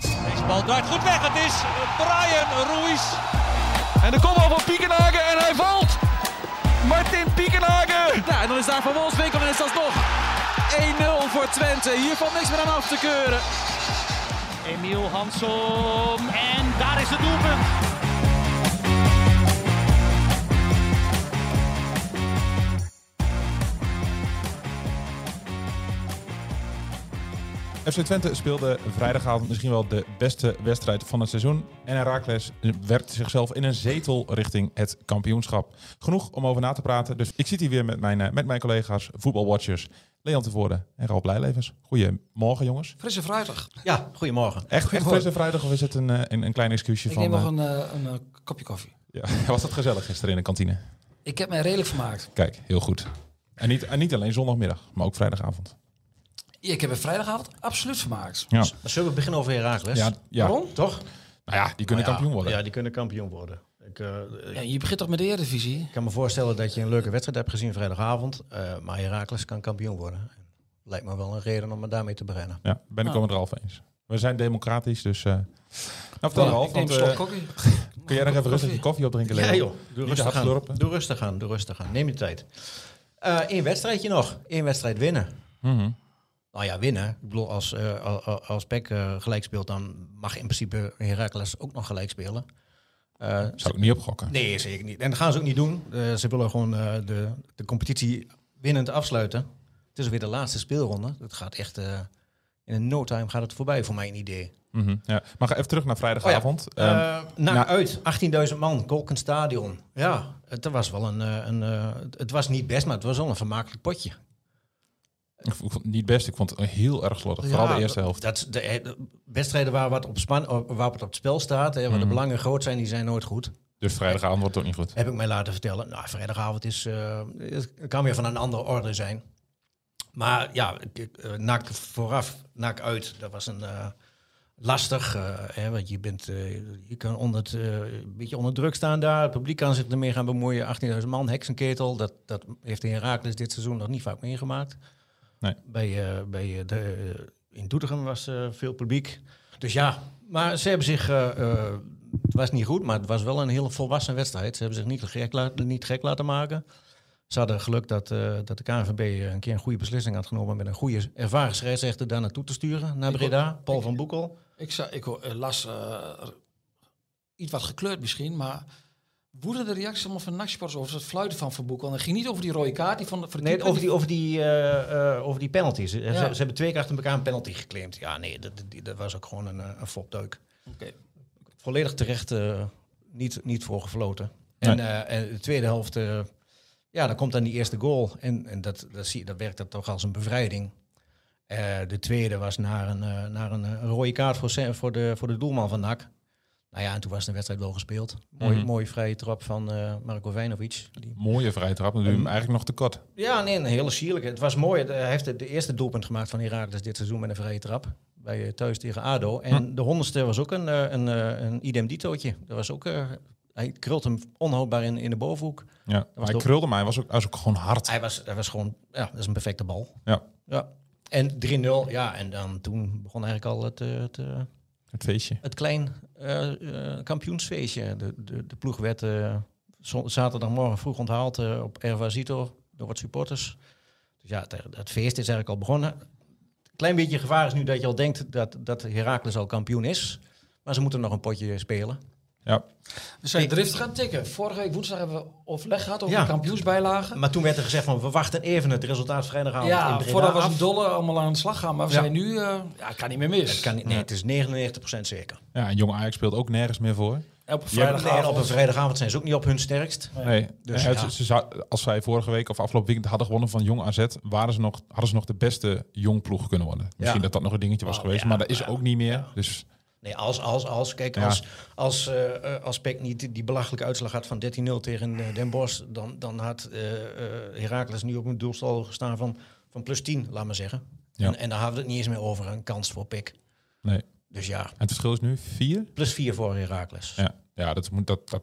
Deze bal draait goed weg. Het is Brian Ruiz. En de kopbal van Piekenhagen en hij valt. Martin Piekenhagen. Ja, en dan is daar Van Wolfswinkel en is alsnog 1-0 voor Twente. Hier valt niks meer aan af te keuren. Emiel Hansom. En daar is het doelpunt. FC Twente speelde vrijdagavond misschien wel de beste wedstrijd van het seizoen. En Herakles werkte zichzelf in een zetel richting het kampioenschap. Genoeg om over na te praten. Dus ik zit hier weer met mijn, eh, met mijn collega's, voetbalwatchers. Leon Tevoorde en Ralf Blijlevens. Goedemorgen jongens. Frisse vrijdag. Ja, goedemorgen. Echt, echt Goedemorgen. frisse vrijdag of is het een, eh, een, een klein excuusje Ik van... neem nog eh, een, eh, een eh, kopje koffie. ja, was dat gezellig gisteren in de kantine? Ik heb mij redelijk vermaakt. Kijk, heel goed. En niet, en niet alleen zondagmiddag, maar ook vrijdagavond. Ik heb er vrijdagavond absoluut vermaakt. Ja, Maar zullen we beginnen over Herakles? ja, ja. Nou Waarom? Nou Toch? ja die kunnen kampioen worden. Ja, die kunnen kampioen worden. Ik, eh, ik Ja, je begint toch met de Eredivisie? kan me voorstellen dat je een leuke wedstrijd hebt gezien vrijdagavond. eh, maar Herakles kan kampioen worden. Lijkt me wel een reden om me daarmee te beginnen. Ja, ben Nou. ik wel met Ralf eens. We zijn democratisch, dus... eh nou, vertel Ja, Ralf, ik neem want, een slok eh, koffie. kun jij nog even rustig je koffie opdrinken? Leo? Doe Niet rustig, te hard aan. slurpen. doe rustig aan. Doe rustig aan. Neem je tijd. Eén wedstrijdje nog. Eén wedstrijd winnen. Mhm. Nou ja, winnen. Ik bedoel, als, eh, al- al- als PEC eh, gelijk speelt, dan mag in principe Heracles ook nog gelijk spelen. Eh, Zou ik niet opgokken. nee, zeker niet. En dat gaan ze ook niet doen. Eh, ze willen gewoon eh, de, de competitie winnend afsluiten. Het is weer de laatste speelronde. Het gaat echt... eh, in een no time gaat het voorbij, voor mijn idee. Mhm, ja. Maar ga even terug naar vrijdagavond. Eh, Ehm, naar nou- uit. 18.000 man, Kolkenstadion. Ja, het was wel een... eh, een eh, het was niet best, maar het was wel een vermakelijk potje. ik vond het niet best, ik vond het heel erg slordig. Vooral Ja, de eerste helft. Dat, de, eh, de wedstrijden waar wat op, span, op- waar wat op het spel staat, hè, waar de Mhm. belangen groot zijn, die zijn nooit goed. Dus vrijdagavond wordt het ook niet goed. Heb ik mij laten vertellen. Nou, vrijdagavond is, eh, het kan weer van een andere orde zijn. Maar ja, eh, nak vooraf, nak uit, dat was een eh, lastig. eh, hè, want je, bent, eh, je kan onder het, eh, een beetje onder druk staan daar. Het publiek kan zich ermee gaan bemoeien. 18.000 man, heksenketel. Dat, dat heeft de Herakles dit seizoen nog niet vaak meegemaakt. Nee. Bij, eh, bij eh, de, eh, in Doetinchem was eh, veel publiek. Dus ja, maar ze hebben zich... eh, eh, het was niet goed, maar het was wel een hele volwassen wedstrijd. Ze hebben zich niet gek, laten- niet gek laten maken. Ze hadden geluk dat, eh, dat de KNVB een keer een goede beslissing had genomen... met een goede ervaren scheidsrechter daar naartoe te sturen, naar Ik- Breda. Paul van Boekel. Ik, zou, ik hoor- eh, las eh, iets wat gekleurd misschien, maar woedde de reactie allemaal van nachtsports over het fluiten van Van Boekel. En het ging niet over die rode kaart die van de voor de Nee, keeper, over die, over die, eh, eh, over die penalties. Eh, Ze, Ja. ze hebben twee keer achter elkaar een penalty geclaimd. Ja, nee, dat, dat- dat was ook gewoon een, eh, een fopduik. Oké. Volledig terecht eh, niet, niet voor gefloten. Nee. En, eh, en de tweede helft, eh, ja, dan komt dan die eerste goal. En, en dat, dat, zie, je- dat werkt dat toch als een bevrijding. Eh, de tweede was naar een, eh, naar een, eh, een rode kaart voor, Sam- voor, de, voor de doelman van NAC. Nou ja, en toen was de wedstrijd wel gespeeld. Mooi, Mhm. mooie vrije trap van eh Marko Vejnovic. Die Mooie vrije trap, maar doe je hem eigenlijk nog te kort. ja, nee, een hele sierlijke. Het was mooi. Hij heeft het de eerste doelpunt gemaakt van Herakles dit seizoen met een vrije trap. Bij eh, thuis tegen ADO. En de honderdste was ook een, eh, een, eh, een idem ditootje. Dat was ook... eh, hij krult hem onhoudbaar in, in de bovenhoek. Ja. Maar hij toch- krulde mij, was ook, hij was ook gewoon hard. Hij was, hij was gewoon... Ja, dat is een perfecte bal. Ja, Ja. En 3-0. Ja, en dan toen begon eigenlijk al het, eh, het, eh, het feestje. het klein eh, eh, kampioensfeestje. De, de, de ploeg werd eh, zo- zaterdagmorgen vroeg onthaald eh, op Ervasito door wat supporters. Dus ja, het, het feest is eigenlijk al begonnen. Klein beetje gevaar is nu dat je al denkt dat, dat Heracles al kampioen is. Maar ze moeten nog een potje spelen. Ja. We zijn drift gaan tikken. Vorige week woensdag hebben we overleg gehad over Ja. de kampioensbijlagen. Maar toen werd er gezegd van we wachten even het resultaat vrijdagavond Nou, in Ja, Breda voordat was af. een dolle allemaal aan de slag gaan. Maar we Ja. zijn nu, eh, ja, het kan niet meer mis. Het kan niet, nee, het is 99% zeker. ja, en jong Ajax speelt ook nergens meer voor. Op een Nee, op vrijdagavond. een vrijdagavond zijn ze ook niet op hun sterkst. Nee, Dus dus ja. ze, zou- als zij vorige week of afgelopen weekend hadden gewonnen van Jong AZ, waren ze nog, hadden ze nog de beste jong ploeg kunnen worden. Misschien Ja. dat dat nog een dingetje was Oh, geweest, ja, maar dat is ja, ook niet meer. Dus Nee, als, als, als. Kijk, Ja. als, als, eh, eh, als PEC niet die belachelijke uitslag had van 13-0 tegen eh, Den Bosch... dan, dan had eh eh, Heracles nu op een doelstal gestaan van, van plus 10, laat maar zeggen. Ja. En, en daar hadden we het niet eens meer over, een kans voor PEC. Nee. Dus ja, En het verschil is nu vier. plus 4 voor Heracles. Ja, ja dat moet dat. dat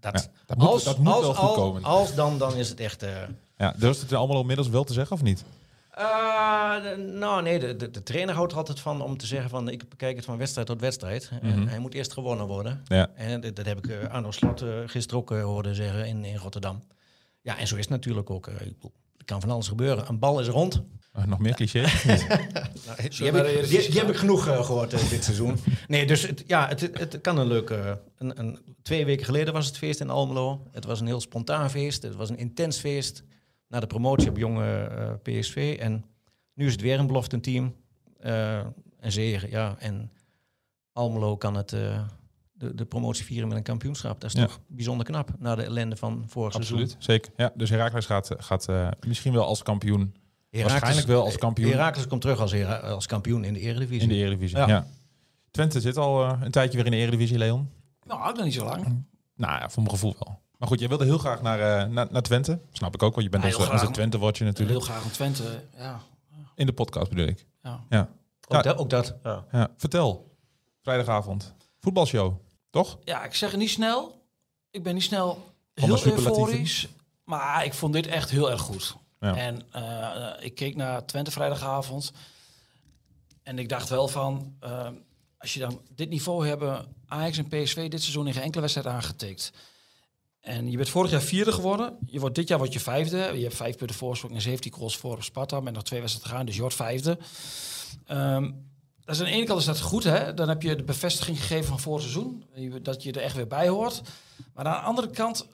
Dat, Ja, dat moet- dat moet wel goed als, komen. Als dan, dan is het echt... eh, ja, durft het er allemaal inmiddels wel te zeggen of niet? Eh, de- nou, nee, de, de, de trainer houdt er altijd van om te zeggen van... ik bekijk het van wedstrijd tot wedstrijd. En Mhm. hij moet eerst gewonnen worden. Ja. En dat, dat heb ik eh, Arno Slot eh, gisteren ook eh, horen zeggen in, in Rotterdam. Ja, en zo is het natuurlijk ook. eh, ik bedoel, er kan van alles gebeuren. Een bal is rond. Eh, nog meer clichés? Niet? Die naar heb, de ik, Eredivisie die, die heb gaan? ik genoeg eh, gehoord eh, dit seizoen. Nee, dus het, ja, het, het, het kan een leuke... eh, Een, een, twee weken geleden was het feest in Almelo. Het was een heel spontaan feest. Het was een intens feest. Na de promotie op jonge eh, PSV. En nu is het weer een belofte team. Eh een zegen, ja. En Almelo kan het, eh, de, de promotie vieren met een kampioenschap. Dat is Ja. toch bijzonder knap. Na de ellende van vorig seizoen. Absoluut. Zeker. Ja, dus Herakles gaat, eh, gaat eh, misschien wel als kampioen Heracles- Waarschijnlijk wel als kampioen. Heracles komt terug als, Hera- als kampioen in de Eredivisie. in de Eredivisie. Ja. Ja. Twente zit al eh, een tijdje weer in de Eredivisie, Leon. Nou, ook nog niet zo lang. Nou ja, voor mijn gevoel wel. Maar goed, jij wilde heel graag naar, eh, naar, naar Twente. Snap ik ook, want je bent Ja, als, heel als een graag. Twente-watcher natuurlijk. Heel graag een Twente. Ja. In de podcast bedoel ik. Ja. Ja. Ook, dat- ook dat. Ja. ja. Vertel. Vrijdagavond. Voetbalshow. Toch? ja, ik zeg het niet snel. Ik ben niet snel Allemaal heel superlatieven. euforisch. Maar ik vond dit echt heel erg goed. Ja. En eh, ik keek naar Twente vrijdagavond. En ik dacht wel van, eh, als je dan dit niveau hebben, Ajax en PSV dit seizoen in geen enkele wedstrijd aangetikt. En je bent vorig jaar vierde geworden. Je wordt dit jaar wordt je vijfde. Je hebt vijf punten voorsprong en 17 goals voor op Sparta. Met nog twee wedstrijden te gaan, dus je wordt vijfde. Ehm dat is aan de ene kant is dat goed, hè? Dan heb je de bevestiging gegeven van vorig seizoen. Je- Dat je er echt weer bij hoort. Maar aan de andere kant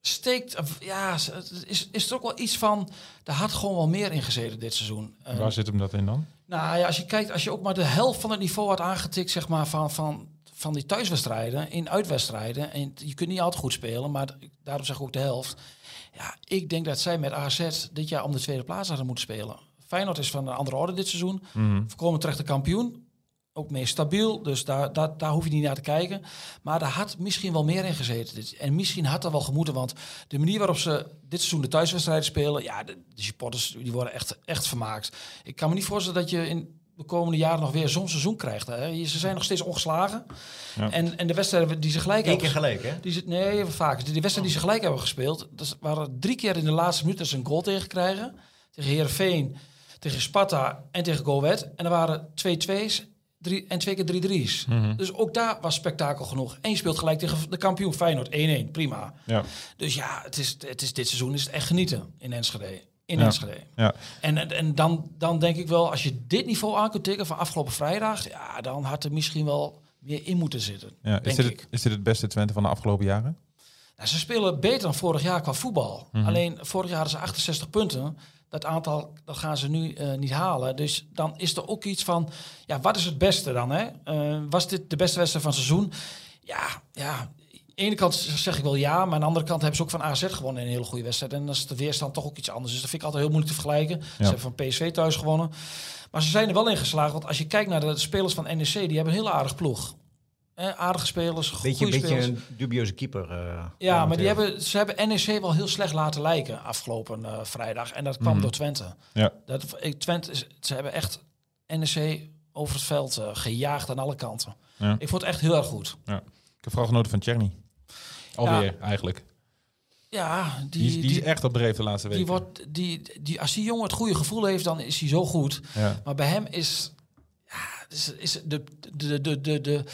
steekt... of Ja, s- het is, is er ook wel iets van... Daar had gewoon wel meer in gezeten dit seizoen. Ehm, Waar zit hem dat in dan? nou ja, als je kijkt, als je ook maar de helft van het niveau had aangetikt, zeg maar, van, van, van die thuiswedstrijden in uitwedstrijden. En je kunt niet altijd goed spelen, maar d- daarom zeg ik ook de helft. Ja, ik denk dat zij met AZ dit jaar om de tweede plaats hadden moeten spelen. Feyenoord is van een andere orde dit seizoen. Voorkomen terecht de kampioen. Ook meer stabiel, dus daar, daar, daar hoef je niet naar te kijken. Maar daar had misschien wel meer in gezeten. Dit- En misschien had dat wel gemoeten, want de manier waarop ze dit seizoen de thuiswedstrijden spelen... ja, de, de supporters die worden echt, echt vermaakt. Ik kan me niet voorstellen dat je in de komende jaren nog weer zo'n seizoen krijgt. Hè. Je- Ze zijn nog steeds ongeslagen. Ja. En, en de wedstrijden die ze gelijk Eén keer hebben... gelijk, hè? Die ze, nee, vaak. Die, die wedstrijd die ze gelijk hebben gespeeld, dat is- waren drie keer in de laatste minuut dat ze een goal tegen krijgen. Tegen Herenveen, tegen Sparta en tegen Goethe. En er waren twee twees drie, en twee keer drie drie's. Mhm. Dus ook daar was spektakel genoeg. En je speelt gelijk tegen de kampioen Feyenoord 1-1, prima. Ja. Dus ja, het is, het is, dit seizoen is het echt genieten in Enschede. In Ja. Enschede. ja. En, en, en dan, dan denk ik wel, als je dit niveau aan kunt tikken van afgelopen vrijdag, ja, dan had er misschien wel meer in moeten zitten. ja. Is, denk dit ik. het, is dit het beste Twente van de afgelopen jaren? Nou, ze spelen beter dan vorig jaar qua voetbal. Mhm. Alleen vorig jaar hadden ze 68 punten. Dat aantal dat gaan ze nu eh, niet halen. Dus dan is er ook iets van, ja, wat is het beste dan? Hè? Eh, was dit de beste wedstrijd van het seizoen? Ja, ja. Aan de ene kant zeg ik wel ja, maar aan de andere kant hebben ze ook van AZ gewonnen in een hele goede wedstrijd. En dan is de weerstand toch ook iets anders. Dus dat vind ik altijd heel moeilijk te vergelijken. Ze hebben van PSV thuis gewonnen. Maar ze zijn er wel in geslaagd. Want als je kijkt naar de spelers van NEC, die hebben een heel aardig ploeg. Eh, aardige spelers, goede Beetje, spelers. beetje een dubieuze keeper. eh, Ja, maar die momenteel. hebben, ze hebben NEC wel heel slecht laten lijken afgelopen eh, vrijdag. En dat kwam Mhm. door Twente. Ja. Dat, ik, Twente is- ze hebben echt NEC over het veld eh, gejaagd aan alle kanten. Ja. Ik vond het echt heel erg goed. ja. Ik heb vooral genoten van Tjerny. Alweer, eigenlijk. Ja, die, Die, is- die is die, echt op de laatste week. die wordt, die, die, als die jongen het goede gevoel heeft, dan is hij zo goed. Ja. Maar bij hem is, ja, is, is de, de, de, de, de, de,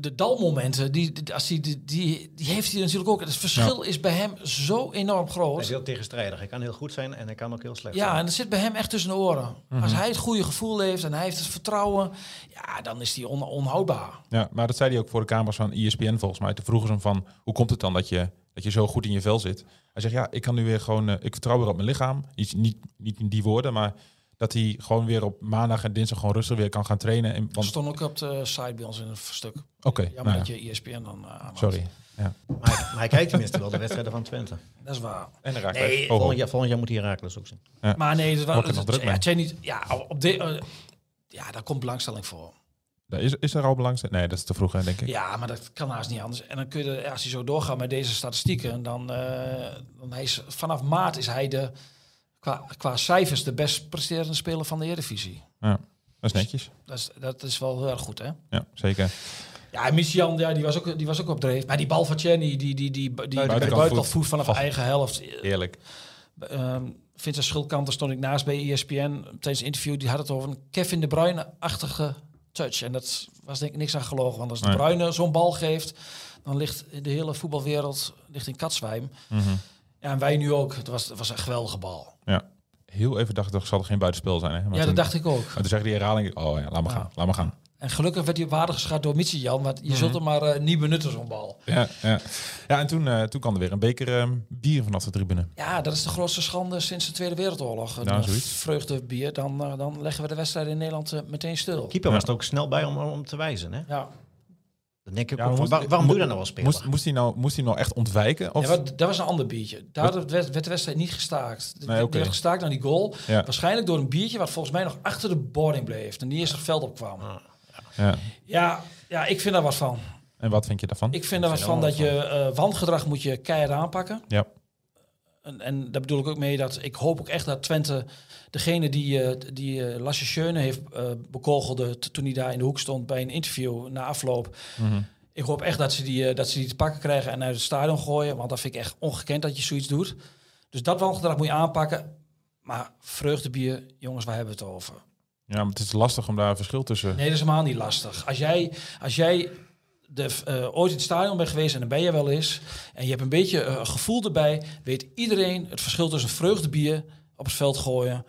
de dalmomenten, die, die- als die, die, die, die heeft hij natuurlijk ook. Het verschil is bij hem zo enorm Hij groot. is heel tegenstrijdig. Hij kan heel goed zijn en hij kan ook heel slecht Ja, zijn. en dat zit bij hem echt tussen de oren. Mhm. Als hij het goede gevoel heeft en hij heeft het vertrouwen, ja, dan is hij on- onhoudbaar. Ja, maar dat zei hij ook voor de camera's van E ESPN volgens mij. Toen vroegen ze hem van, hoe komt het dan dat je, dat je zo goed in je vel zit? Hij zegt, ja, ik kan nu weer gewoon, eh, ik vertrouw weer op mijn lichaam. Iets, niet, niet in die woorden, maar dat hij gewoon weer op maandag en dinsdag gewoon rustig weer kan gaan trainen. En, Dat want, Oké, stond ook op de site bij ons in het stuk. Jammer nou ja, dat je ESPN dan eh, aanhoudt. sorry. Ja. Maar, hij, maar hij kijkt tenminste wel de wedstrijden van Twente. Dat is waar. En dan raak ik Nee, weg. Oh, volgend, jaar, volgend jaar moet hij Herakles ook zien. Maar nee, dat was, Wordt er nog druk ja, mee. het zijn niet, ja, op de, eh, ja, daar komt belangstelling voor. Daar Is, is er al belangstelling? Nee, dat is te vroeg, hè, denk ik. Ja, maar dat kan haast niet anders. En dan kun je, als hij zo doorgaat met deze statistieken, dan, eh, dan hij is, vanaf maart is hij de, qua, qua cijfers de best presterende speler van de Eredivisie. Ja, dat is netjes. Dat is, dat is wel heel erg goed, hè? Ja, zeker. Ja, en Michian, ja, die, was ook, die was ook op dreef. Maar die bal van Chenny, die, die, die, die, die Buitenkant buitenkant voet. voet vanaf Vast. eigen helft. Eerlijk. ehm Vincent Schildkanter stond ik naast bij E ESPN tijdens een interview. Die had het over een Kevin de Bruyne-achtige touch. En dat was denk ik niks aan gelogen. Want als de Nee. Bruyne zo'n bal geeft, dan ligt de hele voetbalwereld ligt in katzwijm. Ja, en wij nu ook. Het was, het was een geweldige bal. Mhm. Ja. Heel even dacht ik, zal er geen buitenspel zijn. Hè? ja, Maar toen- dat dacht ik ook. Maar toen zag ik die herhaling, oh ja, laat maar Ja. gaan, laat maar gaan. En gelukkig werd hij op waarde geschat door Michian. Want je Mhm. zult hem maar eh, niet benutten, zo'n bal. Ja, ja. ja en toen, eh, toen kwam er weer een beker eh, bier vanaf de tribune. Ja, dat is de grootste schande sinds de Tweede Wereldoorlog. Een Nou, eh, zoiets. vreugdebier. Dan, eh, dan leggen we de wedstrijd in Nederland eh, meteen stil. Keeper was er ook snel bij om, om te wijzen. Hè? Ja. Dan denk ik, Ja, ook maar van, moest- waar- waarom doe mo- je dat nou als speler? Moest, moest, hij nou, moest hij nou echt ontwijken? Of? Ja, maar dat was een ander biertje. Daar werd, werd de wedstrijd niet gestaakt. De- Nee, die oké. werd gestaakt aan die goal. Ja. Waarschijnlijk door een biertje wat volgens mij nog achter de boarding bleef. En die eerst het veld opkwam. Ja. Ja, ja, ik vind daar wat van. En wat vind je daarvan? Ik vind daar wat er van wel dat je eh, wangedrag moet je keihard aanpakken. Ja. En, en daar bedoel ik ook mee dat ik hoop ook echt dat Twente, degene die, eh die eh Lasse Schöne heeft eh, bekogelde t- toen hij daar in de hoek stond bij een interview na afloop. Ik hoop echt dat ze, die, eh, dat ze die te pakken krijgen en uit het stadion gooien. Want dat vind ik echt ongekend dat je zoiets doet. Dus dat wangedrag moet je aanpakken. Maar vreugdebier, jongens, waar hebben we het over? ja, maar het is lastig om daar een verschil tussen... Nee, dat is helemaal niet lastig. Als jij, als jij de, eh, ooit in het stadion bent geweest, en dan ben je wel eens, en je hebt een beetje eh, gevoel erbij, weet iedereen het verschil tussen vreugdebier op het veld gooien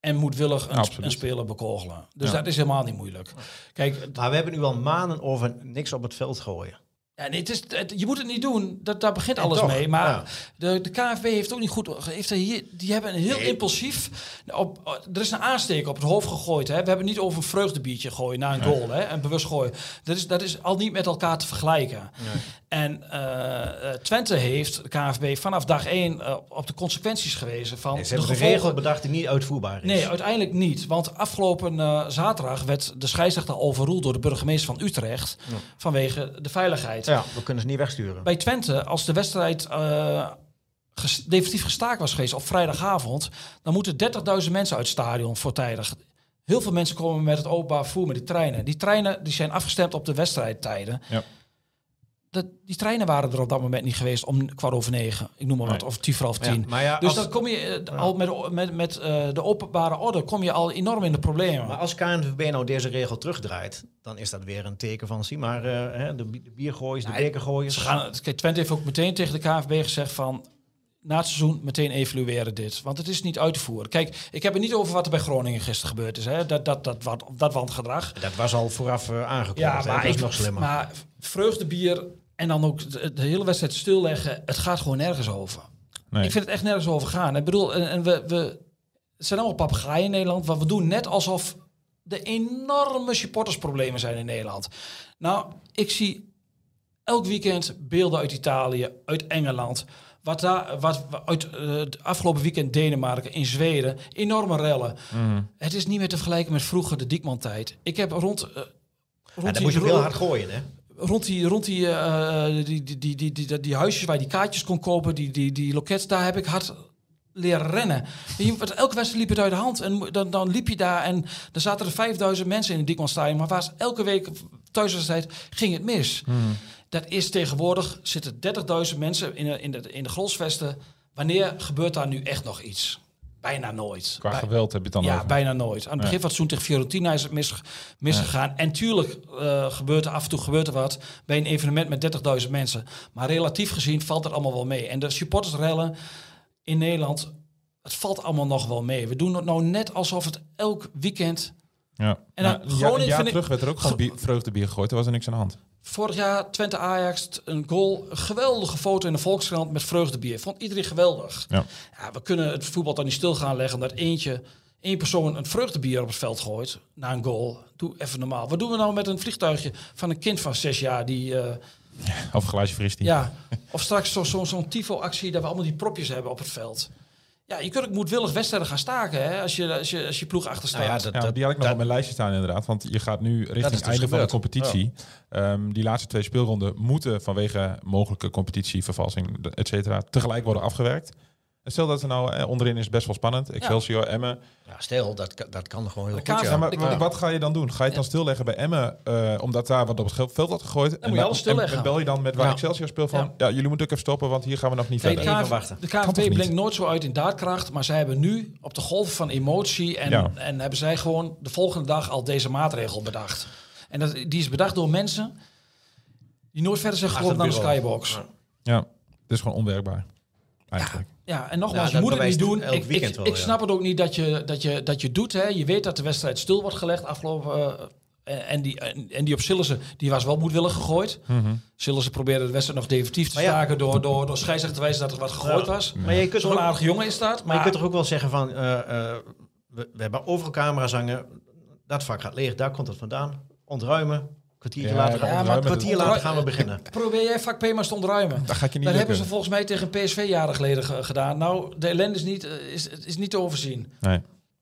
en moedwillig een, Absoluut. een speler bekogelen. Dus Ja. dat is helemaal niet moeilijk. Kijk, het- Maar we hebben nu al maanden over niks op het veld gooien. ja, nee, het is, het- je moet het niet doen, dat, daar begint alles toch, mee. Maar ja. de, de KNVB heeft ook niet goed... Heeft er hier, die hebben een heel impulsief... Op, er is een aansteek op het hoofd gegooid. Hè. We hebben het niet over een vreugdebiertje gooien na een goal. Hè, en bewust gooien. Dat is, dat is al niet met elkaar te vergelijken. En eh, eh, Twente heeft de KNVB vanaf dag één eh, op de consequenties gewezen. Van En ze de hebben een gevolgen- regel bedacht die niet uitvoerbaar is. Nee, uiteindelijk niet. Want afgelopen eh, zaterdag werd de scheidsrechter overroeld door de burgemeester van Utrecht. Vanwege de veiligheid. ja, we kunnen ze niet wegsturen. Bij Twente, als de wedstrijd eh, ges- definitief gestaakt was geweest op vrijdagavond, dan moeten 30.000 mensen uit het stadion voortijdig. Heel veel mensen komen met het openbaar vervoer, met die treinen. Die treinen die zijn afgestemd op de wedstrijdtijden. Ja. Dat, die treinen waren er op dat moment niet geweest om kwart over negen, ik noem maar wat, Nee. of tien voor half Ja, tien. maar ja, dus als- dan kom je eh, al met, o- met, met eh, de openbare orde kom je al enorm in de problemen. Maar als KNVB nou deze regel terugdraait, dan is dat weer een teken van, zie maar, eh, hè, de, bi- de biergooiers, de bekergooiers. Ze Dus gaan, kijk, Twente heeft ook meteen tegen de KNVB gezegd van... na het seizoen meteen evalueren dit. Want het is niet uit te voeren. Kijk, ik heb het niet over wat er bij Groningen gisteren gebeurd is. Hè? Dat, dat, dat, wat, dat wangedrag. Dat was al vooraf eh, aangekondigd. hè, dat is nog slimmer. Maar vreugdebier en dan ook de, de hele wedstrijd stilleggen... het gaat gewoon nergens over. Nee. Ik vind het echt nergens over gaan. Ik bedoel, en, en we, we het zijn allemaal papegaaien in Nederland. Want we doen net alsof de enorme supportersproblemen zijn in Nederland. Nou, ik zie elk weekend beelden uit Italië, uit Engeland. Wat daar, wat wat uit eh, het afgelopen weekend Denemarken, in Zweden, enorme rellen. Het is niet meer te vergelijken met vroeger de Diekman-tijd. Ik heb rond. eh, rond ja, dan die moet je ook ro- heel hard gooien, hè? rond die, rond die, eh, die, die, die, die, die, die huisjes waar je die kaartjes kon kopen, die, die, die lokets, daar heb ik hard leren rennen. En je- want elke wedstrijd liep het uit de hand. En mo- dan, dan liep je daar en er zaten er 5000 mensen in het Diekmanstadion. Maar waar elke week thuiswedstrijd ging het mis. Dat is tegenwoordig, zitten 30.000 mensen in de, in, de, in de grolsvesten. Wanneer gebeurt daar nu echt nog iets? Bijna nooit. Qua Bij- geweld heb je het dan ja, over. bijna nooit. Aan het begin van het seizoen tegen Fiorentina is het mis, misgegaan. En tuurlijk eh, gebeurt er af en toe gebeurt er wat bij een evenement met 30.000 mensen. Maar relatief gezien valt het allemaal wel mee. En de supportersrellen in Nederland, het valt allemaal nog wel mee. We doen het nou net alsof het elk weekend... Ja. En dan Ja, een jaar, Groningen een jaar vind ik- terug werd er ook gewoon bier, vreugdebier gegooid. Er was er niks aan de hand. Vorig jaar Twente Ajax, t- een goal, een geweldige foto in de Volkskrant met vreugdebier. Vond iedereen geweldig. Ja. Ja, we kunnen het voetbal dan niet stil gaan leggen dat eentje, één persoon een vreugdebier op het veld gooit na een goal. Doe even normaal. Wat doen we nou met een vliegtuigje van een kind van zes jaar die, eh, Of een glaasje fris die. ja, of straks zo- zo- zo'n tifo-actie dat we allemaal die propjes hebben op het veld. Ja, je kunt ook moedwillig wedstrijden gaan staken hè, als, je, als, je, als je ploeg achter staat. Nou ja, dat, Ja, dat- die had ik nog dat- op mijn lijstje staan inderdaad. Want je gaat nu richting dus het einde van de gebeurd. competitie. Ehm, die laatste twee speelronden moeten vanwege mogelijke competitievervalsing, et cetera, tegelijk worden afgewerkt. En Stel dat er nou eh, onderin is best wel spannend. Excelsior, Emmen. ja, stil, dat, ka- dat kan gewoon heel Dat goed. kan ja. Ja, maar ik- wat- wat ga je dan doen? Ga je het dan stilleggen bij Emmen, eh, omdat daar wat op het veld had gegooid? Dan moet je alles stilleggen. En bel je dan met waar Ja. Excelsior speelt van, ja. Ja. jullie moeten ook even stoppen, want hier gaan we nog niet Nee, de, verder. even KNV wachten. de Kan toch KNVB niet? blinkt nooit zo uit in daadkracht, maar zij hebben nu op de golf van emotie en, Ja. en hebben zij gewoon de volgende dag al deze maatregel bedacht. En dat, die is bedacht door mensen die nooit verder zijn Achter gekomen dan de het bureau. skybox. Ja. Ja, het is gewoon onwerkbaar. Eigenlijk. Ja, en nogmaals, Ja, je dat moet het bewijst niet doen. elk Ik, ik, weekend wel, ik ja. snap het ook niet dat je, dat je, dat je doet. Hè. Je weet dat de wedstrijd stil wordt gelegd afgelopen... eh, en- en, die, en, en die op Sillessen, die was wel moedwillig gegooid. Mhm. Sillessen probeerde de wedstrijd nog definitief te Maar ja. staken... door, door, door scheidsrechter te wijzen dat er wat gegooid Ja. was. Maar je kunt Zo'n toch ook- aardige jongen is dat. Maar je kunt toch ook wel zeggen van, eh, eh, we, we hebben overal camera's hangen. Dat vak gaat leeg, daar komt het vandaan. Ontruimen, kwartiertje Ja, later, ja, gaan- maar een kwartier ontruimen- later gaan we beginnen. Probeer jij vak Pema's te ontruimen. Dat ga ik je niet Dat hebben lukken. ze volgens mij tegen PSV jaren geleden ge- gedaan. Nou, de ellende is niet, eh, is, is niet te overzien. Nee.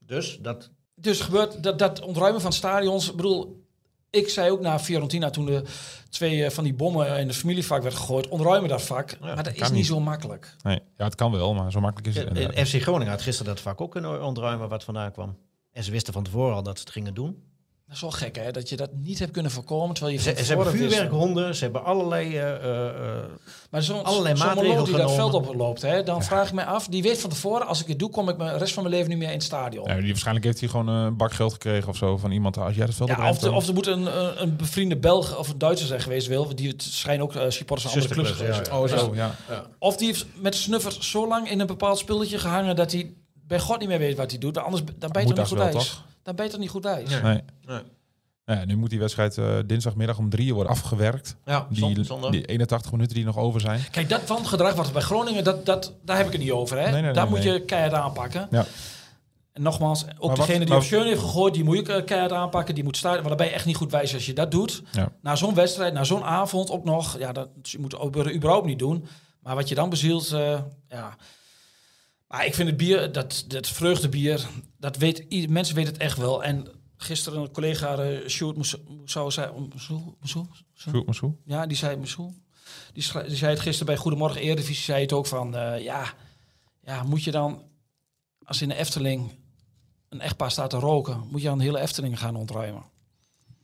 Dus dat, Dus gebeurt dat, dat ontruimen van stadions. Ik bedoel, ik zei ook na Fiorentina toen de twee eh, van die bommen in de familievak werd gegooid. Ontruimen dat vak. maar dat is kan niet niet. zo makkelijk. Nee. Ja, het kan wel, maar zo makkelijk is het. inderdaad FC Groningen had gisteren dat vak ook kunnen ontruimen wat vandaan kwam. En ze wisten van tevoren al dat ze het gingen doen. Dat is wel gek hè, dat je dat niet hebt kunnen voorkomen. Terwijl je Ze, van ze hebben tevoren wist. vuurwerkhonden, ze hebben allerlei... eh, eh, eh, Maar zo'n allerlei zo'n maatregelen moloot die dat genomen. veld oploopt, hè, dan vraag ik me af. Die weet van tevoren, als ik het doe, kom ik de rest van mijn leven niet meer in het stadion. Ja, die, waarschijnlijk heeft hij gewoon eh, een bak geld gekregen of zo van iemand. Als jij dat veld Ja, opruimt, of, de, dan- of er moet een, eh, een, een bevriende Belg of een Duitser zijn geweest, wil, die het schijnen ook eh, supporters van andere clubs Zusterclubs, geweest. Oh, zo, ja. Of die heeft met snuffers zo lang in een bepaald spilletje gehangen dat hij bij God niet meer weet wat hij doet. Anders dan ben je toch Moet niet goed dat wel, wijs. toch? Dan ben je toch niet goed wijs. Nee. Nee. Nou ja, nu moet die wedstrijd eh, dinsdagmiddag om drie uur worden afgewerkt. ja, Die, zonder. die 81 minuten die nog over zijn. Kijk, dat wangedrag wat er bij Groningen, dat, dat, daar heb ik het niet over. Hè? Nee, nee, daar nee, moet nee. je keihard aanpakken. Ja. En nogmaals, ook wat- degene die maar- op Schöne heeft gegooid, die moet je eh, keihard aanpakken. Die moet staan, want dan ben je echt niet goed wijs als je dat doet. Ja. Na zo'n wedstrijd, na zo'n avond ook nog. Ja, dat je moet het ook überhaupt niet doen. Maar wat je dan bezielt, eh, ja. Maar ik vind het bier, dat, dat vreugdebier, dat weet, ieder- mensen weten het echt wel. En gisteren een collega, eh Sjoerd Moussou- Moussou, zei... Moussou- Moussou? Goed, maar zo. Ja, die zei Moussou. Die, schrij- die zei het gisteren bij Goedemorgen Eredivisie, zei het ook van... eh, ja, ja, moet je dan, als in de Efteling een echtpaar staat te roken... moet je dan de hele Efteling gaan ontruimen?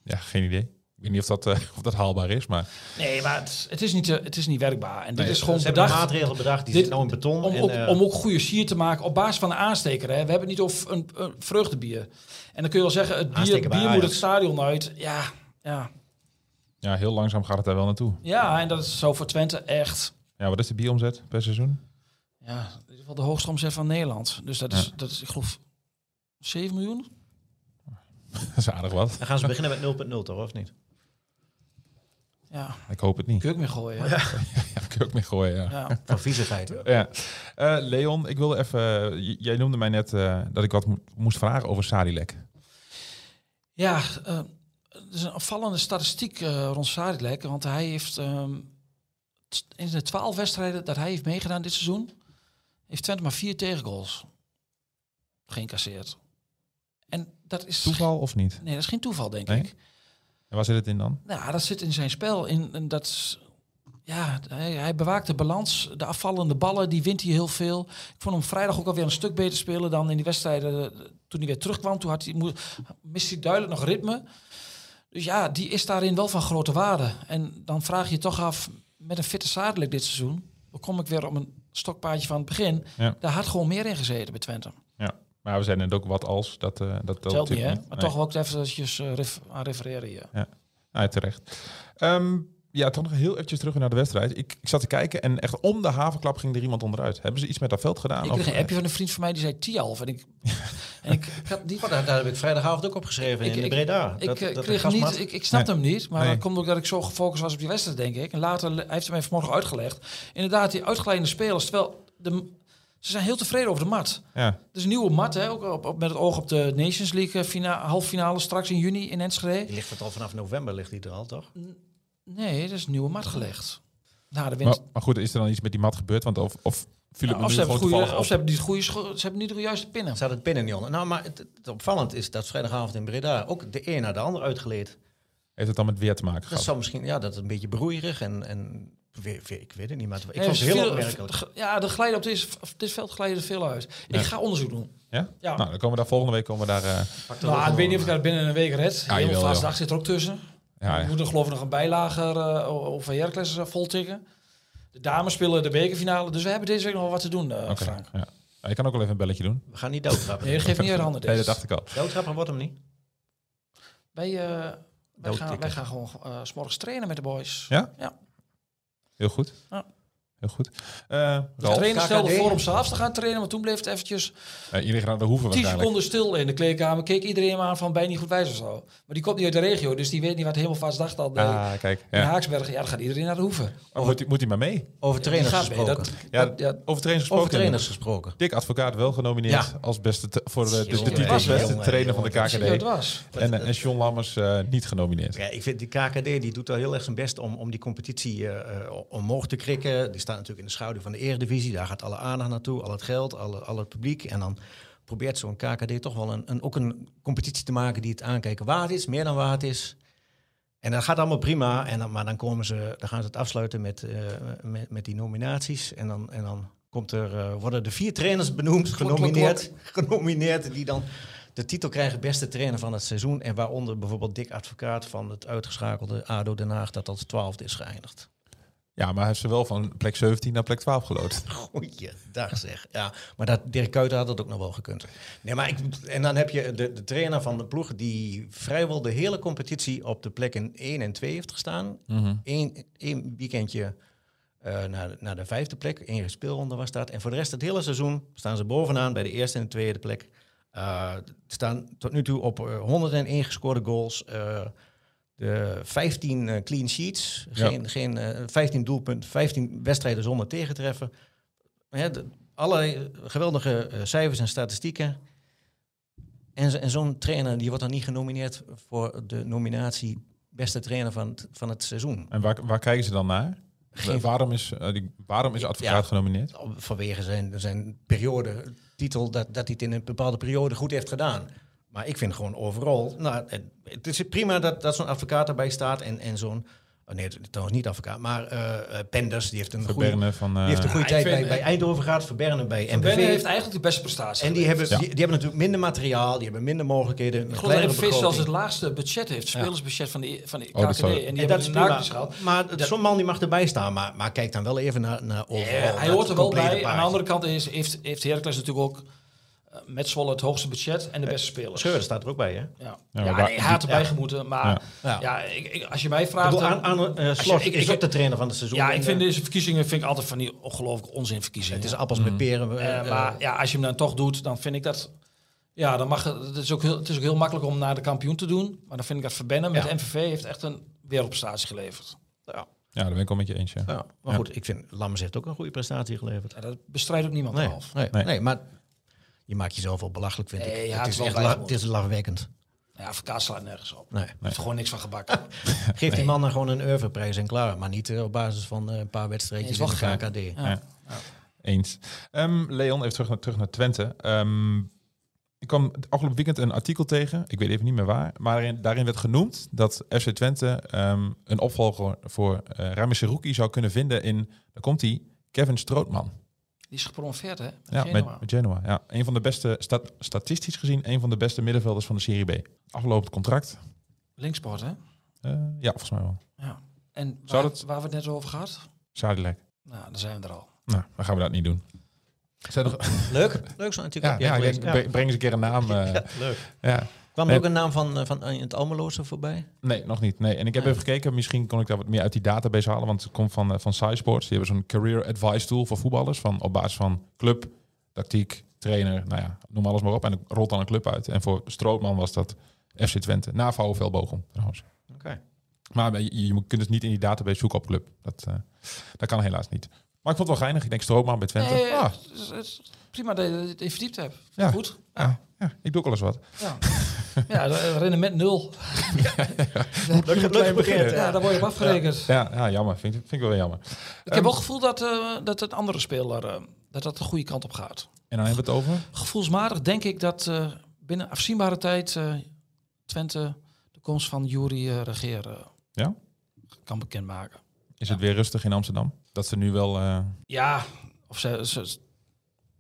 Ja, geen idee. Ik weet niet of dat, eh, of dat haalbaar is, maar... Nee, maar het, het is, niet, eh, het is niet werkbaar. En dit Nee, is gewoon ze hebben bedacht maatregelen bedacht, die Dit- zitten nou in beton. om, en, ook, eh, om ook goede sier te maken op basis van een aansteker. Hè. We hebben het niet over een, een vreugdebier. En dan kun je wel zeggen, het bier, Aansteker bij bier moet Ajax. het stadion uit. Ja, ja. Ja, heel langzaam gaat het daar wel naartoe. ja, en dat is zo voor Twente echt... Ja, wat is de bieromzet per seizoen? Ja, in ieder geval de hoogste omzet van Nederland. Dus dat is, dat is ik geloof, 7 miljoen? dat is aardig wat. Dan gaan ze beginnen met 0.0 toch, of niet? Ja, Ik hoop het niet. kun je ook meer gooien. hè? Ja. Ja, kun je ook mee gooien, ja. Van viezigheid. Ja. Eh, Leon, ik wilde even... eh, j- jij noemde mij net eh, dat ik wat mo- moest vragen over Sadilek. Ja, eh, het is een opvallende statistiek eh rond Sadilek. Want hij heeft ehm, t- in de twaalf wedstrijden dat hij heeft meegedaan dit seizoen... heeft Twente maar vier tegengoals geïncasseerd. En dat is... Toeval of niet? Nee, dat is geen toeval, denk Nee? ik. En waar zit het in dan? Nou, dat zit in zijn spel. In, in dat, s- ja, hij, hij bewaakt de balans. De afvallende ballen, die wint hij heel veel. Ik vond hem vrijdag ook alweer een stuk beter spelen dan in die wedstrijden. eh, Toen hij weer terugkwam, toen had hij, moe- miste hij duidelijk nog ritme. Dus ja, die is daarin wel van grote waarde. En dan vraag je je toch af, met een fitte zadelijk dit seizoen... dan kom ik weer op een stokpaardje van het begin. Ja. Daar had gewoon meer in gezeten bij Twente. Ja. Maar we zijn net ook wat als. Dat, eh, dat telt Telt niet, hè? natuurlijk Maar Nee. toch ook even eh, ref- aan refereren hier. Ja, terecht. Ehm, ja, toch nog heel eventjes terug naar de wedstrijd. Ik, ik zat te kijken en echt om de havenklap ging er iemand onderuit. Hebben ze iets met dat veld gedaan? Ik Of- kreeg een appje van een vriend van mij die zei Tialf. En ik, en ik, ik had niet, Oh, daar, daar heb ik vrijdagavond ook opgeschreven Ik- in de ik- Breda. ik, dat, eh, dat de kreeg gasmat- niet, ik, ik snapte hem niet. Maar Nee. dat komt ook dat ik zo gefocust was op die wedstrijd, denk ik. En later le- hij heeft hij mij vanmorgen uitgelegd. Inderdaad, die uitgeleide spelers. Terwijl de, m- ze zijn heel tevreden over de mat. Ja, Het is een nieuwe mat, hè, ook op, op- met het oog op de Nations League eh, fina, halffinale straks in juni in Die Enschede. ligt het al vanaf november, ligt die er al, toch? Mm. Nee, dat is een nieuwe mat gelegd. Na de maar, winst. maar goed, is er dan iets met die mat gebeurd? Want of, of viel het me of, nu ze hebben gewoon het goede- toevallig of op. ze hebben niet het goede scho- ze hebben niet de juiste pinnen. Ze hadden het binnen niet onder. Nou, maar het, het opvallend is dat vrijdagavond in Breda ook de een naar de ander uitgeleed. Heeft het dan met weer te maken Dat gehad? zou misschien, ja, dat is een beetje broeierig en, en weer, weer- ik weet het niet, maar het- ik Nee, vond het ze heel vielen- opmerkelijk. g- Ja, de glijden op dit, op dit veld glijden er veel uit. Ja. Ik ga onderzoek doen. Ja? Ja. Nou, dan komen we daar volgende week komen we daar. eh, Nou, ik weet niet of ik dat binnen een week red. Ja, Heel jawel, vaste joh. dag zit er ook tussen. ja, We ja. moeten geloof ik nog een bijlage eh, over Heracles eh, voltikken. De dames spelen de bekerfinale. Dus we hebben deze week nog wel wat te doen, eh, Oké, Frank. ja. Ja, Ik kan ook wel even een belletje doen. We gaan niet doodtrappen. Nee, dat geeft niet uit handen. Nee, deze. dat dacht ik al. Doodtrappen wordt hem niet. Wij, eh, wij, gaan, Doodtikken. wij gaan gewoon eh, s s'morgens trainen met de boys. Ja? Ja. Heel goed. Ja. Heel goed. Eh De Ralf, trainer stelde KKD. voor om s'avonds te gaan trainen, maar toen bleef het eventjes eh, jullie gaan naar de 10 hoeven waarschijnlijk. seconden stil in de kleedkamer. Keek iedereen maar aan van ben je niet goed wijs of zo. Maar die komt niet uit de regio, dus die weet niet wat helemaal vast dacht al. eh, Ah, kijk. In Ja. Haaksberg, ja, dan gaat iedereen naar de hoeven. Maar Oh. Moet, hij- moet hij maar mee? Over trainers Die gaat mee, gesproken. dat- Ja, dat- ja, over trainers gesproken. Over trainers gesproken. Dick Advocaat wel genomineerd Ja. als beste te- voor de, de, de Jongen, titel jongen, beste jongen, trainer van de jongen, zie je hoe het KKD. was. En, eh, en John Lammers eh, niet genomineerd. Ja, ik vind die KKD die doet al heel erg zijn best om, om die competitie eh, eh, omhoog te krikken. Die staat natuurlijk in de schaduw van de Eredivisie. Daar gaat alle aandacht naartoe, al het geld, al, al het publiek. En dan probeert zo'n KKD toch wel een, een, ook een competitie te maken die het aankijken waard is, meer dan waard is. En dat gaat allemaal prima, en dan, maar dan, komen ze, dan gaan ze het afsluiten met, eh, met, met die nominaties. En dan, en dan komt er, eh, worden er vier trainers benoemd, klok, genomineerd, genomineerd die dan de titel krijgen beste trainer van het seizoen. En waaronder bijvoorbeeld Dick Advocaat van het uitgeschakelde ADO Den Haag dat als twaalfde is geëindigd. Ja, maar hij heeft ze wel van plek 17 naar plek 12 geloodst. Goeiedag zeg. Ja, maar dat, Dirk Kuyter had dat ook nog wel gekund. Nee, maar ik, en dan heb je de, de trainer van de ploeg die vrijwel de hele competitie op de plekken 1 en 2 heeft gestaan. Eén één weekendje eh, naar, de- naar de vijfde plek. Eén speelronde was dat. En voor de rest het hele seizoen staan ze bovenaan bij de eerste en de tweede plek. Eh, staan tot nu toe op eh, 101 gescoorde goals. eh, de 15 eh, clean sheets. Ja. Geen, geen, eh, 15 doelpunten, 15 wedstrijden zonder tegentreffen. Hè, de- allerlei geweldige eh, cijfers en statistieken. En, zo- en zo'n trainer die wordt dan niet genomineerd voor de nominatie beste trainer van het, van het seizoen. En waar, waar kijken ze dan naar? Geen- Waarom is, eh, die- waarom is Advocaat Ja. genomineerd? vanwege zijn, zijn periode, titel, dat, dat hij het in een bepaalde periode goed heeft gedaan. Maar ik vind gewoon overal, nou, het, het is prima dat, dat zo'n advocaat erbij staat en, en zo'n, oh nee, het- trouwens niet advocaat, maar eh, eh, Penders, die heeft een goede, Verberne van... eh, die heeft een goede ik tijd vind- bij, bij Eindhoven gehad, Verberne bij MBV. Ben heeft eigenlijk de beste prestatie. en die geleverd. hebben, Ja. die, die hebben natuurlijk minder materiaal, die hebben minder mogelijkheden, een Ik geloof dat kleinere MVV zelfs het begroting. laagste budget heeft, spelersbudget van de, E- van de Oh, dat KKD. zou- en die En hebben dat is een prima. naakjes gehad. Maar Dat- zo'n man die mag erbij staan, maar, maar kijk dan wel even naar, naar overal. Ja, naar hij het hoort er wel bij. complete Aan de plaatje. andere kant is, heeft, heeft Heracles natuurlijk ook eh, met Zwolle het hoogste budget en de beste spelers. Scheuren staat er ook bij, hè? Ik Ja, Ja, ja, maar waar- nee, haat erbij gemoeten. Maar Ja. ja. ik, ik- als je mij vraagt... bedoel, dan- aan, aan, eh, je- Slot ik- is ik- ook de trainer van het seizoen. ja, En, ik vind eh, deze verkiezingen vind ik altijd van die ongelooflijk onzinverkiezingen. Het is appels met peren. we- Eh, eh, maar ja, als je hem dan toch doet, dan vind ik dat... Ja, dan mag het, het, is ook heel, het is ook heel makkelijk om naar de kampioen te doen. Maar dan vind ik dat verbannen met Ja. MVV heeft echt een wereldprestatie geleverd. Ja, daar ben ik wel met je eens. ja. ja, maar goed, ik vind Lammers heeft ook een goede prestatie geleverd. Ja, dat bestrijdt ook niemand Nee, half. nee, Nee. nee. maar je maakt jezelf wel belachelijk, vind Nee, ik. je het haakt is wel echt bij la- gewoon. het is lachwekkend. Ja, verkaas slaat nergens op. Nee. Er heeft gewoon niks van gebakken. Geef die man dan gewoon een oeuvreprijs en klaar. Maar niet eh, op basis van eh, een paar wedstrijdjes Nee, in is de wel KKD. Ja. Eens. Ehm, Leon, even terug naar, terug naar Twente. Ehm, ik kwam het afgelopen weekend een artikel tegen, ik weet even niet meer waar, maar daarin, daarin werd genoemd dat FC Twente ehm, een opvolger voor eh Rami Serouki zou kunnen vinden in, daar komt hij, Kevin Strootman. Die is gepromoveerd, hè? Ja, Genoa. met, met Genoa. Ja. Een van de beste, stat- statistisch gezien, een van de beste middenvelders van de Serie B. Afgelopen contract. Linksport, hè? Eh, ja, volgens mij wel. Ja. En waar, Zou dat- waar we het net over gehad? Sadilek. Nou, dan zijn we er al. Nou, dan gaan we dat niet doen. Zijn er- Leuk, leuk zo'n artikel. ja, ja, ik gelezen. denk, breng breng eens een keer een naam. eh, leuk. ja. Kwam Nee. er ook een naam van, eh, van eh, het Almeloze voorbij? Nee, nog niet. Nee. En ik heb even gekeken, misschien kon ik daar wat meer uit die database halen, want het komt van, eh, van SciSports. Die hebben zo'n career advice tool voor voetballers, van, op basis van club, tactiek, trainer, nou ja, noem alles maar op. En het rolt dan een club uit. En voor Strootman was dat FC Twente, na VfL Bochum trouwens. Oké. Maar je, je moet- kunt dus niet in die database zoeken op club. Dat, eh, dat kan helaas niet. Maar ik vond het wel geinig. Ik denk Strootman bij Twente. Nee, Ah, het is- het is prima dat je het in verdiept hebt. Ja. Goed. ja, ja, ik doe ook wel eens wat. Ja. Ja, de- rendement nul. Dat gaat klein beginnen. Ja, daar word je op afgerekend. Ja, ja, jammer. Vind, ik- vind ik wel jammer. Ik heb wel het gevoel dat, eh, dat het andere speler eh, dat dat de goede kant op gaat. En dan hebben we het over? Gevoelsmatig denk ik dat eh, binnen afzienbare tijd eh, Twente de komst van Jury eh Regeren Ja? kan bekendmaken. Is het weer rustig in Amsterdam? Dat ze nu wel... eh, Ja, of ze, ze-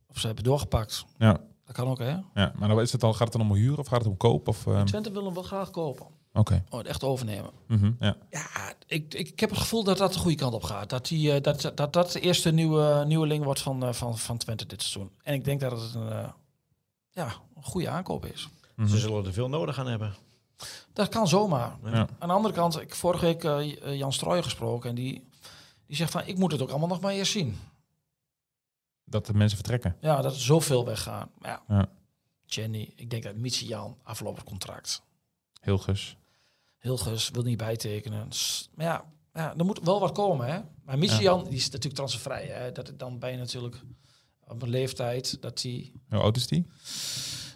of ze hebben doorgepakt. ja, Dat kan ook, hè? ja, maar dan is het al, gaat het dan om huur of gaat het om koop? Of, ehm, Oké. Twente wil hem wel graag kopen. Oh, het echt overnemen. Mhm, ja. Ja, ik, ik, ik heb het gevoel dat dat de goede kant op gaat. Dat die, eh, dat, dat, dat, dat de eerste nieuwe, nieuweling wordt van, eh, van, van Twente dit seizoen. En ik denk dat het een, eh, ja, een goede aankoop is. Ze zullen er veel nodig aan hebben. Dat kan zomaar. Ja. Aan de andere kant, ik vorige week eh, Jan Strooijen gesproken. En die, die zegt van, ik moet het ook allemaal nog maar eerst zien. Dat de mensen vertrekken. Ja, dat er zoveel weggaan. Maar ja, Ja. Jenny, ik denk dat Mitsi Jan aflopend contract. Heel gus. Hilgers wil niet bijtekenen. S- Maar ja, ja, er moet wel wat komen, hè? Maar Michian, die is natuurlijk transfervrij, hè? Dat het dan bij je natuurlijk op een leeftijd dat die Hoe oud is die?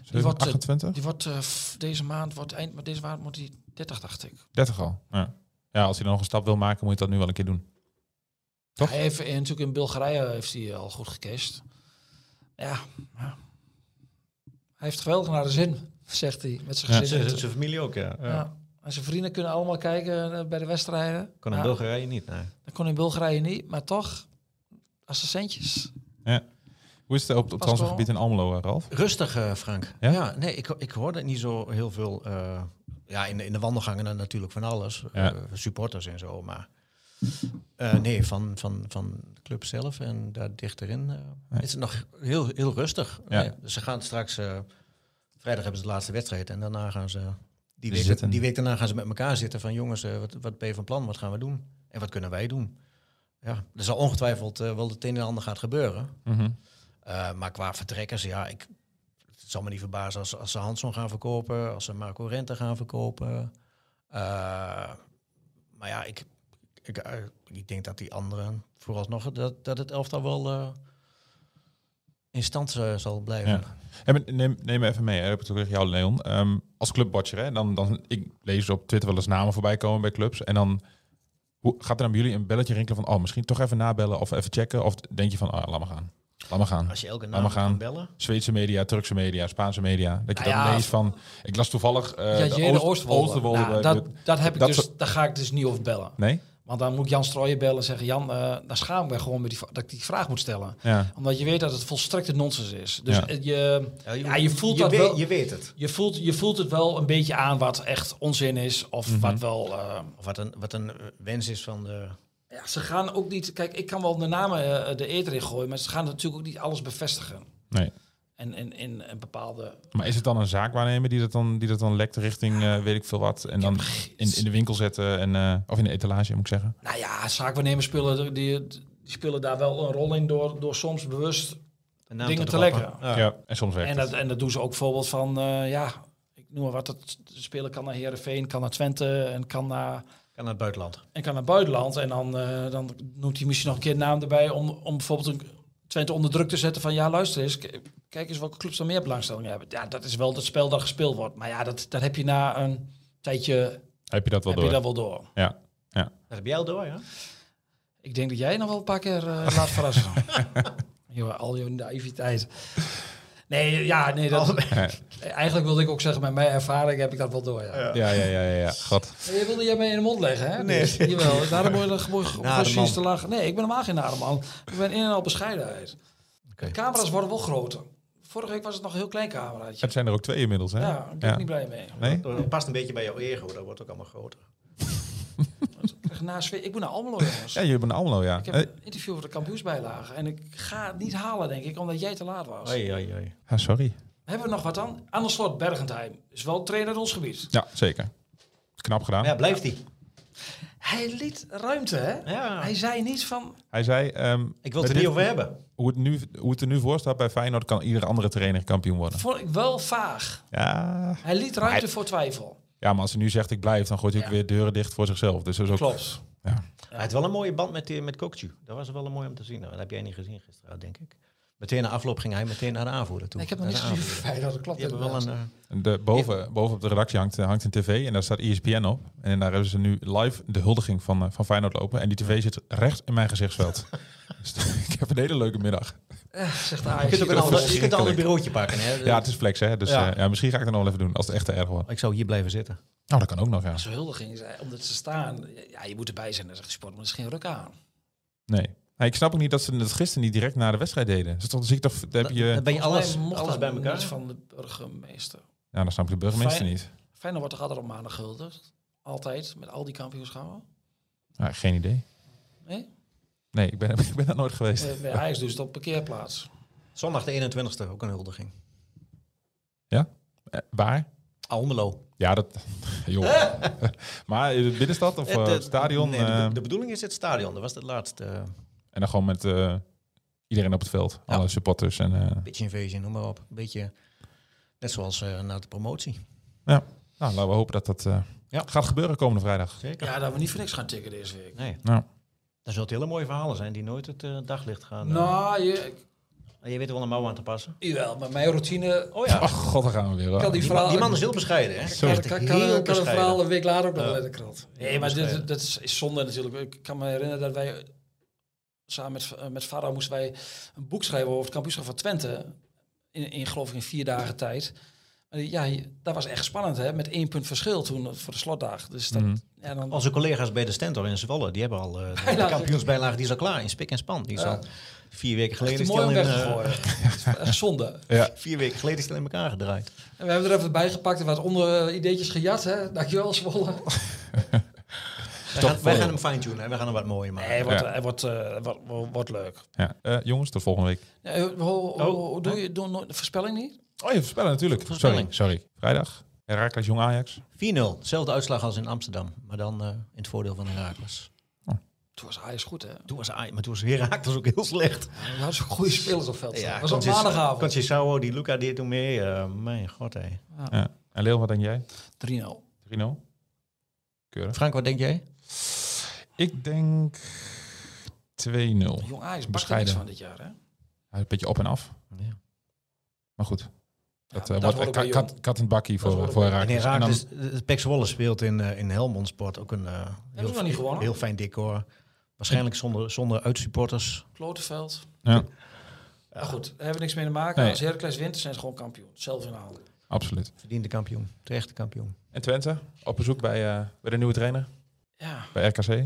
Zeven- wordt, eh, 28? die wordt eh, f- deze maand wordt eind maar deze maand moet hij 30 dacht ik. 30 al. Ja. ja, als hij dan nog een stap wil maken, moet je dat nu wel een keer doen. Toch? Hij heeft en natuurlijk in Bulgarije heeft hij eh, al goed gecashed. Ja, ja. hij heeft geweldig naar de zin, zegt hij met zijn Ja. gezin. Zijn zijn familie ook, ja. Eh, Ja. En zijn vrienden kunnen allemaal kijken eh, bij de wedstrijden. Kan in Ja, Bulgarije niet, nee. Dat kon in Bulgarije niet, maar toch als de centjes. Hoe is het op het Pas transfergebied in Almelo, eh, Ralf? Rustig, eh, Frank. Ja? Ja? nee, ik, ik hoorde niet zo heel veel. eh, ja, in, de- in de wandelgangen dan natuurlijk van alles. Ja. eh, supporters en zo, maar... eh, nee, van, van, van de club zelf en daar dichterin eh, Nee. is het nog heel, heel rustig. Ja. Nee, ze gaan straks... eh, vrijdag hebben ze de laatste wedstrijd en daarna gaan ze... Die Zitten. week, die week daarna gaan ze met elkaar zitten van... jongens, eh, wat, wat ben je van plan? Wat gaan we doen? En wat kunnen wij doen? Ja, er zal ongetwijfeld eh, wel het een en ander gaat gebeuren. Mhm. Eh, maar qua vertrekkers, ja, ik, het zal me niet verbazen als, als ze Hanson gaan verkopen, als ze Marco Rente gaan verkopen. Eh, maar ja, ik, ik, eh, ik denk dat die anderen vooralsnog dat, dat het elftal wel eh, in stand eh, zal blijven. Ja. Hey, maar neem, neem me even mee, hè. ik heb het ook tegen jou, Leon. Ehm, als clubwatcher, hè, dan, dan, ik lees op Twitter wel eens namen voorbij komen bij clubs. En dan hoe, gaat er dan bij jullie een belletje rinkelen van, oh, misschien toch even nabellen of even checken? Of denk je van, ah, laat maar gaan. Laat maar gaan. Als je elke Laat naam maar gaan. gaat bellen. Zweedse media, Turkse media, Spaanse media. Dat je Nou dan ja, leest van, ik las toevallig eh, Ja, de Jede Oost- Oosterwolde. Oosterwolde Nou, bij- dat, dat heb ik dat dus, soort- daar ga ik dus niet over bellen. Nee? Want dan moet ik Jan Strooijen bellen en zeggen... Jan, eh daar schaam ik me gewoon met die, v- dat ik die vraag moet stellen. Ja. Omdat je weet dat het volstrekte nonsens is. Dus Ja. eh, je, ja, je, voelt dat weet, wel... Je Je, weet het. voelt, je voelt het wel een beetje aan wat echt onzin is. Of Mhm. wat wel... eh, Of wat een, wat een eh, wens is van de... ja, ze gaan ook niet... Kijk, ik kan wel de namen eh, de eter in gooien... maar ze gaan natuurlijk ook niet alles bevestigen. Nee. En, en, en, en bepaalde... Maar is het dan een zaakwaarnemer die dat dan, die dat dan lekt richting eh, weet ik veel wat? En dan in, in de winkel zetten, en, eh, of in de etalage moet ik zeggen. Nou ja, zaakwaarnemers spelen, die, die spelen daar wel een rol in... door, door soms bewust de naam Dingen te droppen. lekkeren. Ja. Ja, en soms werkt En het. dat, en dat doen ze ook bijvoorbeeld van, eh, ja, ik noem maar wat, het spelen kan naar Herenveen, kan naar Twente en kan naar, Kan naar het buitenland. en kan naar buitenland. En dan, eh, dan noemt hij misschien nog een keer een naam erbij om, om bijvoorbeeld een Twente onder druk te zetten van, ja, luister eens, k- kijk eens welke clubs er meer belangstelling hebben. Ja, dat is wel het spel dat gespeeld wordt. Maar ja, dat, dat heb je na een tijdje, Heb je dat wel heb door? je dat wel door. Ja. ja. Dat heb jij al door, ja? Ik denk dat jij nog wel een paar keer eh, laat verrassen. Joh, al je naïviteit. Nee, ja, nee, dat, eigenlijk wilde ik ook zeggen, met mijn ervaring heb ik dat wel door, ja. Ja, ja, ja, ja. ja. God. Je wilde jij mee in de mond leggen, hè? Nee. jawel, daarom word je er gewoon Nare precies man. te lachen. Nee, ik ben helemaal geen nare man. Ik ben in en al bescheidenheid. Oké. De camera's worden wel groter. Vorige week was het nog een heel klein cameraatje. Het zijn er ook twee inmiddels, hè? Ja, ik ben er niet blij mee. Nee? Dat past een beetje bij jouw ego, dat wordt ook allemaal groter. Ik, krijg na Swe- ik ben naar Almelo, jongens. Ja, jullie hebben een Almelo, ja. Ik heb Eh, een interview voor de kampioensbijlage. En ik ga het niet halen, denk ik, omdat jij te laat was. Oei, oei, oei. ah, sorry. Hebben we nog wat dan? Aan de slot, Bergentheim. Is wel trainer in ons gebied. Ja, zeker. Knap gedaan. Maar ja, blijft die. Hij liet ruimte, hè? Ja. Hij zei niet van... Hij zei... ehm, Ik wil het met er niet dit- over hebben. Hoe het, nu, hoe het er nu voor staat bij Feyenoord kan iedere andere trainer kampioen worden. Vond ik wel vaag. Ja, Hij liet ruimte voor twijfel. ja maar als hij nu zegt ik blijf, dan gooit hij ook Ja. weer deuren dicht voor zichzelf. Dus dat is ook... Klopt. Hij had wel een mooie band met, eh, met Kokchu. Dat was wel mooi om te zien. Dat heb jij niet gezien gisteren, denk ik. Meteen na afloop ging hij meteen naar de aanvoerder toe. Ik heb nog Naar niks de gezien aanvoerder. van Feyenoord, dat klopt. Die hebben wel een... inderdaad. eh, En De, boven, boven op de redactie hangt, eh, hangt een tv en daar staat ESPN op. En daar hebben ze nu live de huldiging van, eh, van Feyenoord lopen. En die tv zit recht in mijn gezichtsveld. dus ik heb een hele leuke middag. Eh, Zegt eh, je Ajax. kunt ook een ander- je kunt al een verschrikkelijk. bureautje pakken. Hè? Ja, het is flex hè. Dus Ja. eh, ja, misschien ga ik het nog wel even doen als het echt te erg wordt. Ik zou hier blijven zitten. Nou, dat kan ook nog ja. Zo'n huldiging, is, eh, omdat ze staan. Ja, je moet erbij zijn, dan zegt de sport, maar er is geen ruk aan. Nee. Nee, ik snap ook niet dat ze het gisteren niet direct na de wedstrijd deden. Dus dan zie ik toch, dan heb Dan je... ben je alles, Volgens mij mocht alles dat bij elkaar. niet van de burgemeester. Ja, dan snap ik de burgemeester Fijn- niet. Feyenoord wordt toch altijd op maandag gehuldigd? Altijd, met al die kampioenschappen? Ja, geen idee. Nee? Nee, ik ben, ik ben daar nooit geweest. Eh, Bij Ajax doen ze het op parkeerplaats. Zondag de 21ste ook een huldiging. Eh, waar? Almelo. Ja, dat... Joh. maar in de binnenstad of Het, eh, eh, het stadion? nee, de- eh, de, de bedoeling is het stadion. Dat was het laatste. eh, En dan gewoon met eh, iedereen op het veld. Ja. Alle supporters. En, eh, Pitch invasion, noem maar op. Een beetje net zoals eh, na de promotie. ja. Nou, laten we hopen dat dat eh, Ja. gaat gebeuren komende vrijdag. Zeker. Ja, dat we niet voor niks gaan tikken deze week. Nee, Nou, dat zullen hele mooie verhalen zijn die nooit het eh, daglicht gaan. eh. Ah, Nou, je, je weet er wel een mouw aan te passen. jawel, maar mijn routine... Oh oh god, daar gaan we weer. Kan hoor. die, Die, verhaal, man, die man is heel bescheiden, hè? Zo. Echt kan, kan, heel kan het bescheiden. verhaal een week later ook nog Ja. bij de krant. Nee, maar dit, bescheiden. dat is, is zonde natuurlijk. Ik kan me herinneren dat wij samen met, eh, met Farah moesten wij een boek schrijven over het kampioenschap van Twente. In, in geloof ik in vier dagen tijd. Maar Ja, je- dat was echt spannend, hè? Met één punt verschil toen eh, voor de slotdag. Dus dat, Mhm. ja, dan, Onze collega's bij de Stentor in Zwolle, die hebben al eh, de Bijna. kampioensbijlage, die is al klaar in spik en span. Die is Ja. al vier weken echt geleden is die mooi om al weg in, te eh, gooien. Echt zonde. Ja. vier weken geleden is die al in elkaar gedraaid. En we hebben er even bij gepakt en wat onder eh, ideetjes gejat, hè? Dankjewel, Zwolle. Wij gaan, wij gaan hem fine-tunen en we gaan hem wat mooier maken. Nee, hij wordt, Ja. hij wordt, eh, wordt, wordt, wordt leuk. Ja. Eh, jongens, tot volgende week. Ja, eh, ho- ho- Oh. ho- doe je doe nooit de voorspelling niet? Oh, je voorspellen natuurlijk. Voorspelling. Sorry, sorry. Vrijdag. Herakles Jong Ajax. 4-0, hetzelfde uitslag als in Amsterdam, maar dan eh, in het voordeel van Herakles. Toen was Ajax goed, hè? Toen was, Aj- maar toen was Herakles ook heel slecht. We hadden zo'n goede spelers op veld. staan. dat was op Conces- maandagavond. 3-0. Concesao, die Luca deed toen mee. eh, mijn god, hé. Ja. En Leel, wat denk jij? 3-0. Keurig. Frank, wat denk jij? Ik denk 2-0. Ja, Jong Ajax bakt er niks Bescheiden. van dit jaar, hè? Een beetje op en af. Ja. Maar goed. Dat, Ja, eh, dat wordt hoort bij eh, ka- Jong. kat, kat in het bakkie hoort voor, ook voor bij- En Herakles. En dan- Herakles, eh, Pek Zwolle speelt in, eh, in Helmond Sport ook een eh, we nog heel, niet gewonnen? heel fijn decor. Waarschijnlijk zonder, zonder uitsupporters. Klotenveld. ja, Maar goed, daar hebben we niks mee te maken. Nee. Als Heracles wint, zijn ze gewoon kampioen. Zelf in de handen. absoluut. Verdiende kampioen, terechte kampioen. En Twente, op bezoek bij, eh, bij de nieuwe trainer, Ja. bij RKC.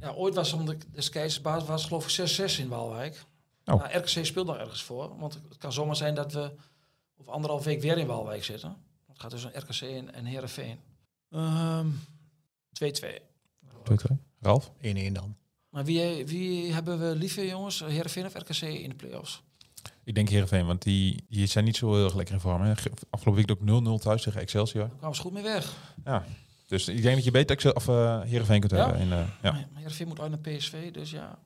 ja, ooit was om de, de Skeisbaas was geloof ik 6-6 in Walwijk. Oh. Nou, RKC speelt nog ergens voor. Want het kan zomaar zijn dat we over anderhalf week weer in Walwijk zitten. Het gaat tussen RKC en, en Heerenveen. Ehm, 2-2. Ralf? 1-1 dan. Maar wie, wie hebben we liever, jongens? Heerenveen of RKC in de play-offs? Ik denk Heerenveen, want die, die zijn niet zo heel erg lekker in vorm. Hè. Ge- Afgelopen week ook 0-0 thuis tegen Excelsior. Daar kwamen ze goed mee weg. Dus ik denk dat je beter Excel, of, eh Heerenveen kunt Ja? hebben. In, eh, ja. Maar Heerenveen moet uit naar PSV, dus ja.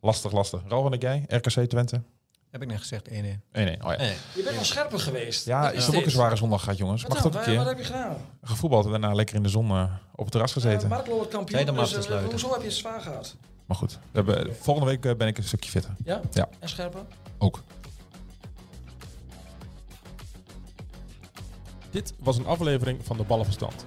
Lastig, lastig. Ralf, wat denk jij? RKC Twente? 1-1. Heb ik net gezegd, 1-1. Nee. Oh, ja. Je bent wel scherper geweest. Ja, Dat ik heb ook een dit. zware zondag gehad, jongens. Wat, Mag dan? toch een Waar- wat heb keer. je gedaan? Gevoetbald en daarna lekker in de zon eh, op het terras gezeten. Uh, Marco wordt kampioen, Tijd om af dus te eh, sluiten. hoezo heb je het zwaar gehad? Maar goed, we hebben, volgende week eh, ben ik een stukje fitter. Ja? Ja. En scherper? Ook. Dit was een aflevering van de Ballenverstand.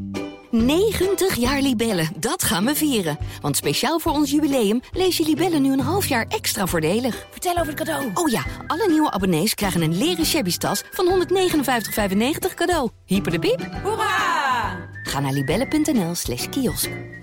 90 jaar Libellen, dat gaan we vieren. Want speciaal voor ons jubileum lees je Libellen nu een half jaar extra voordelig. Vertel over het cadeau. Oh ja, alle nieuwe abonnees krijgen een leren shabby tas van 159,95 cadeau. Hyper de piep. Hoera! Ga naar libellen.nl slash kiosk.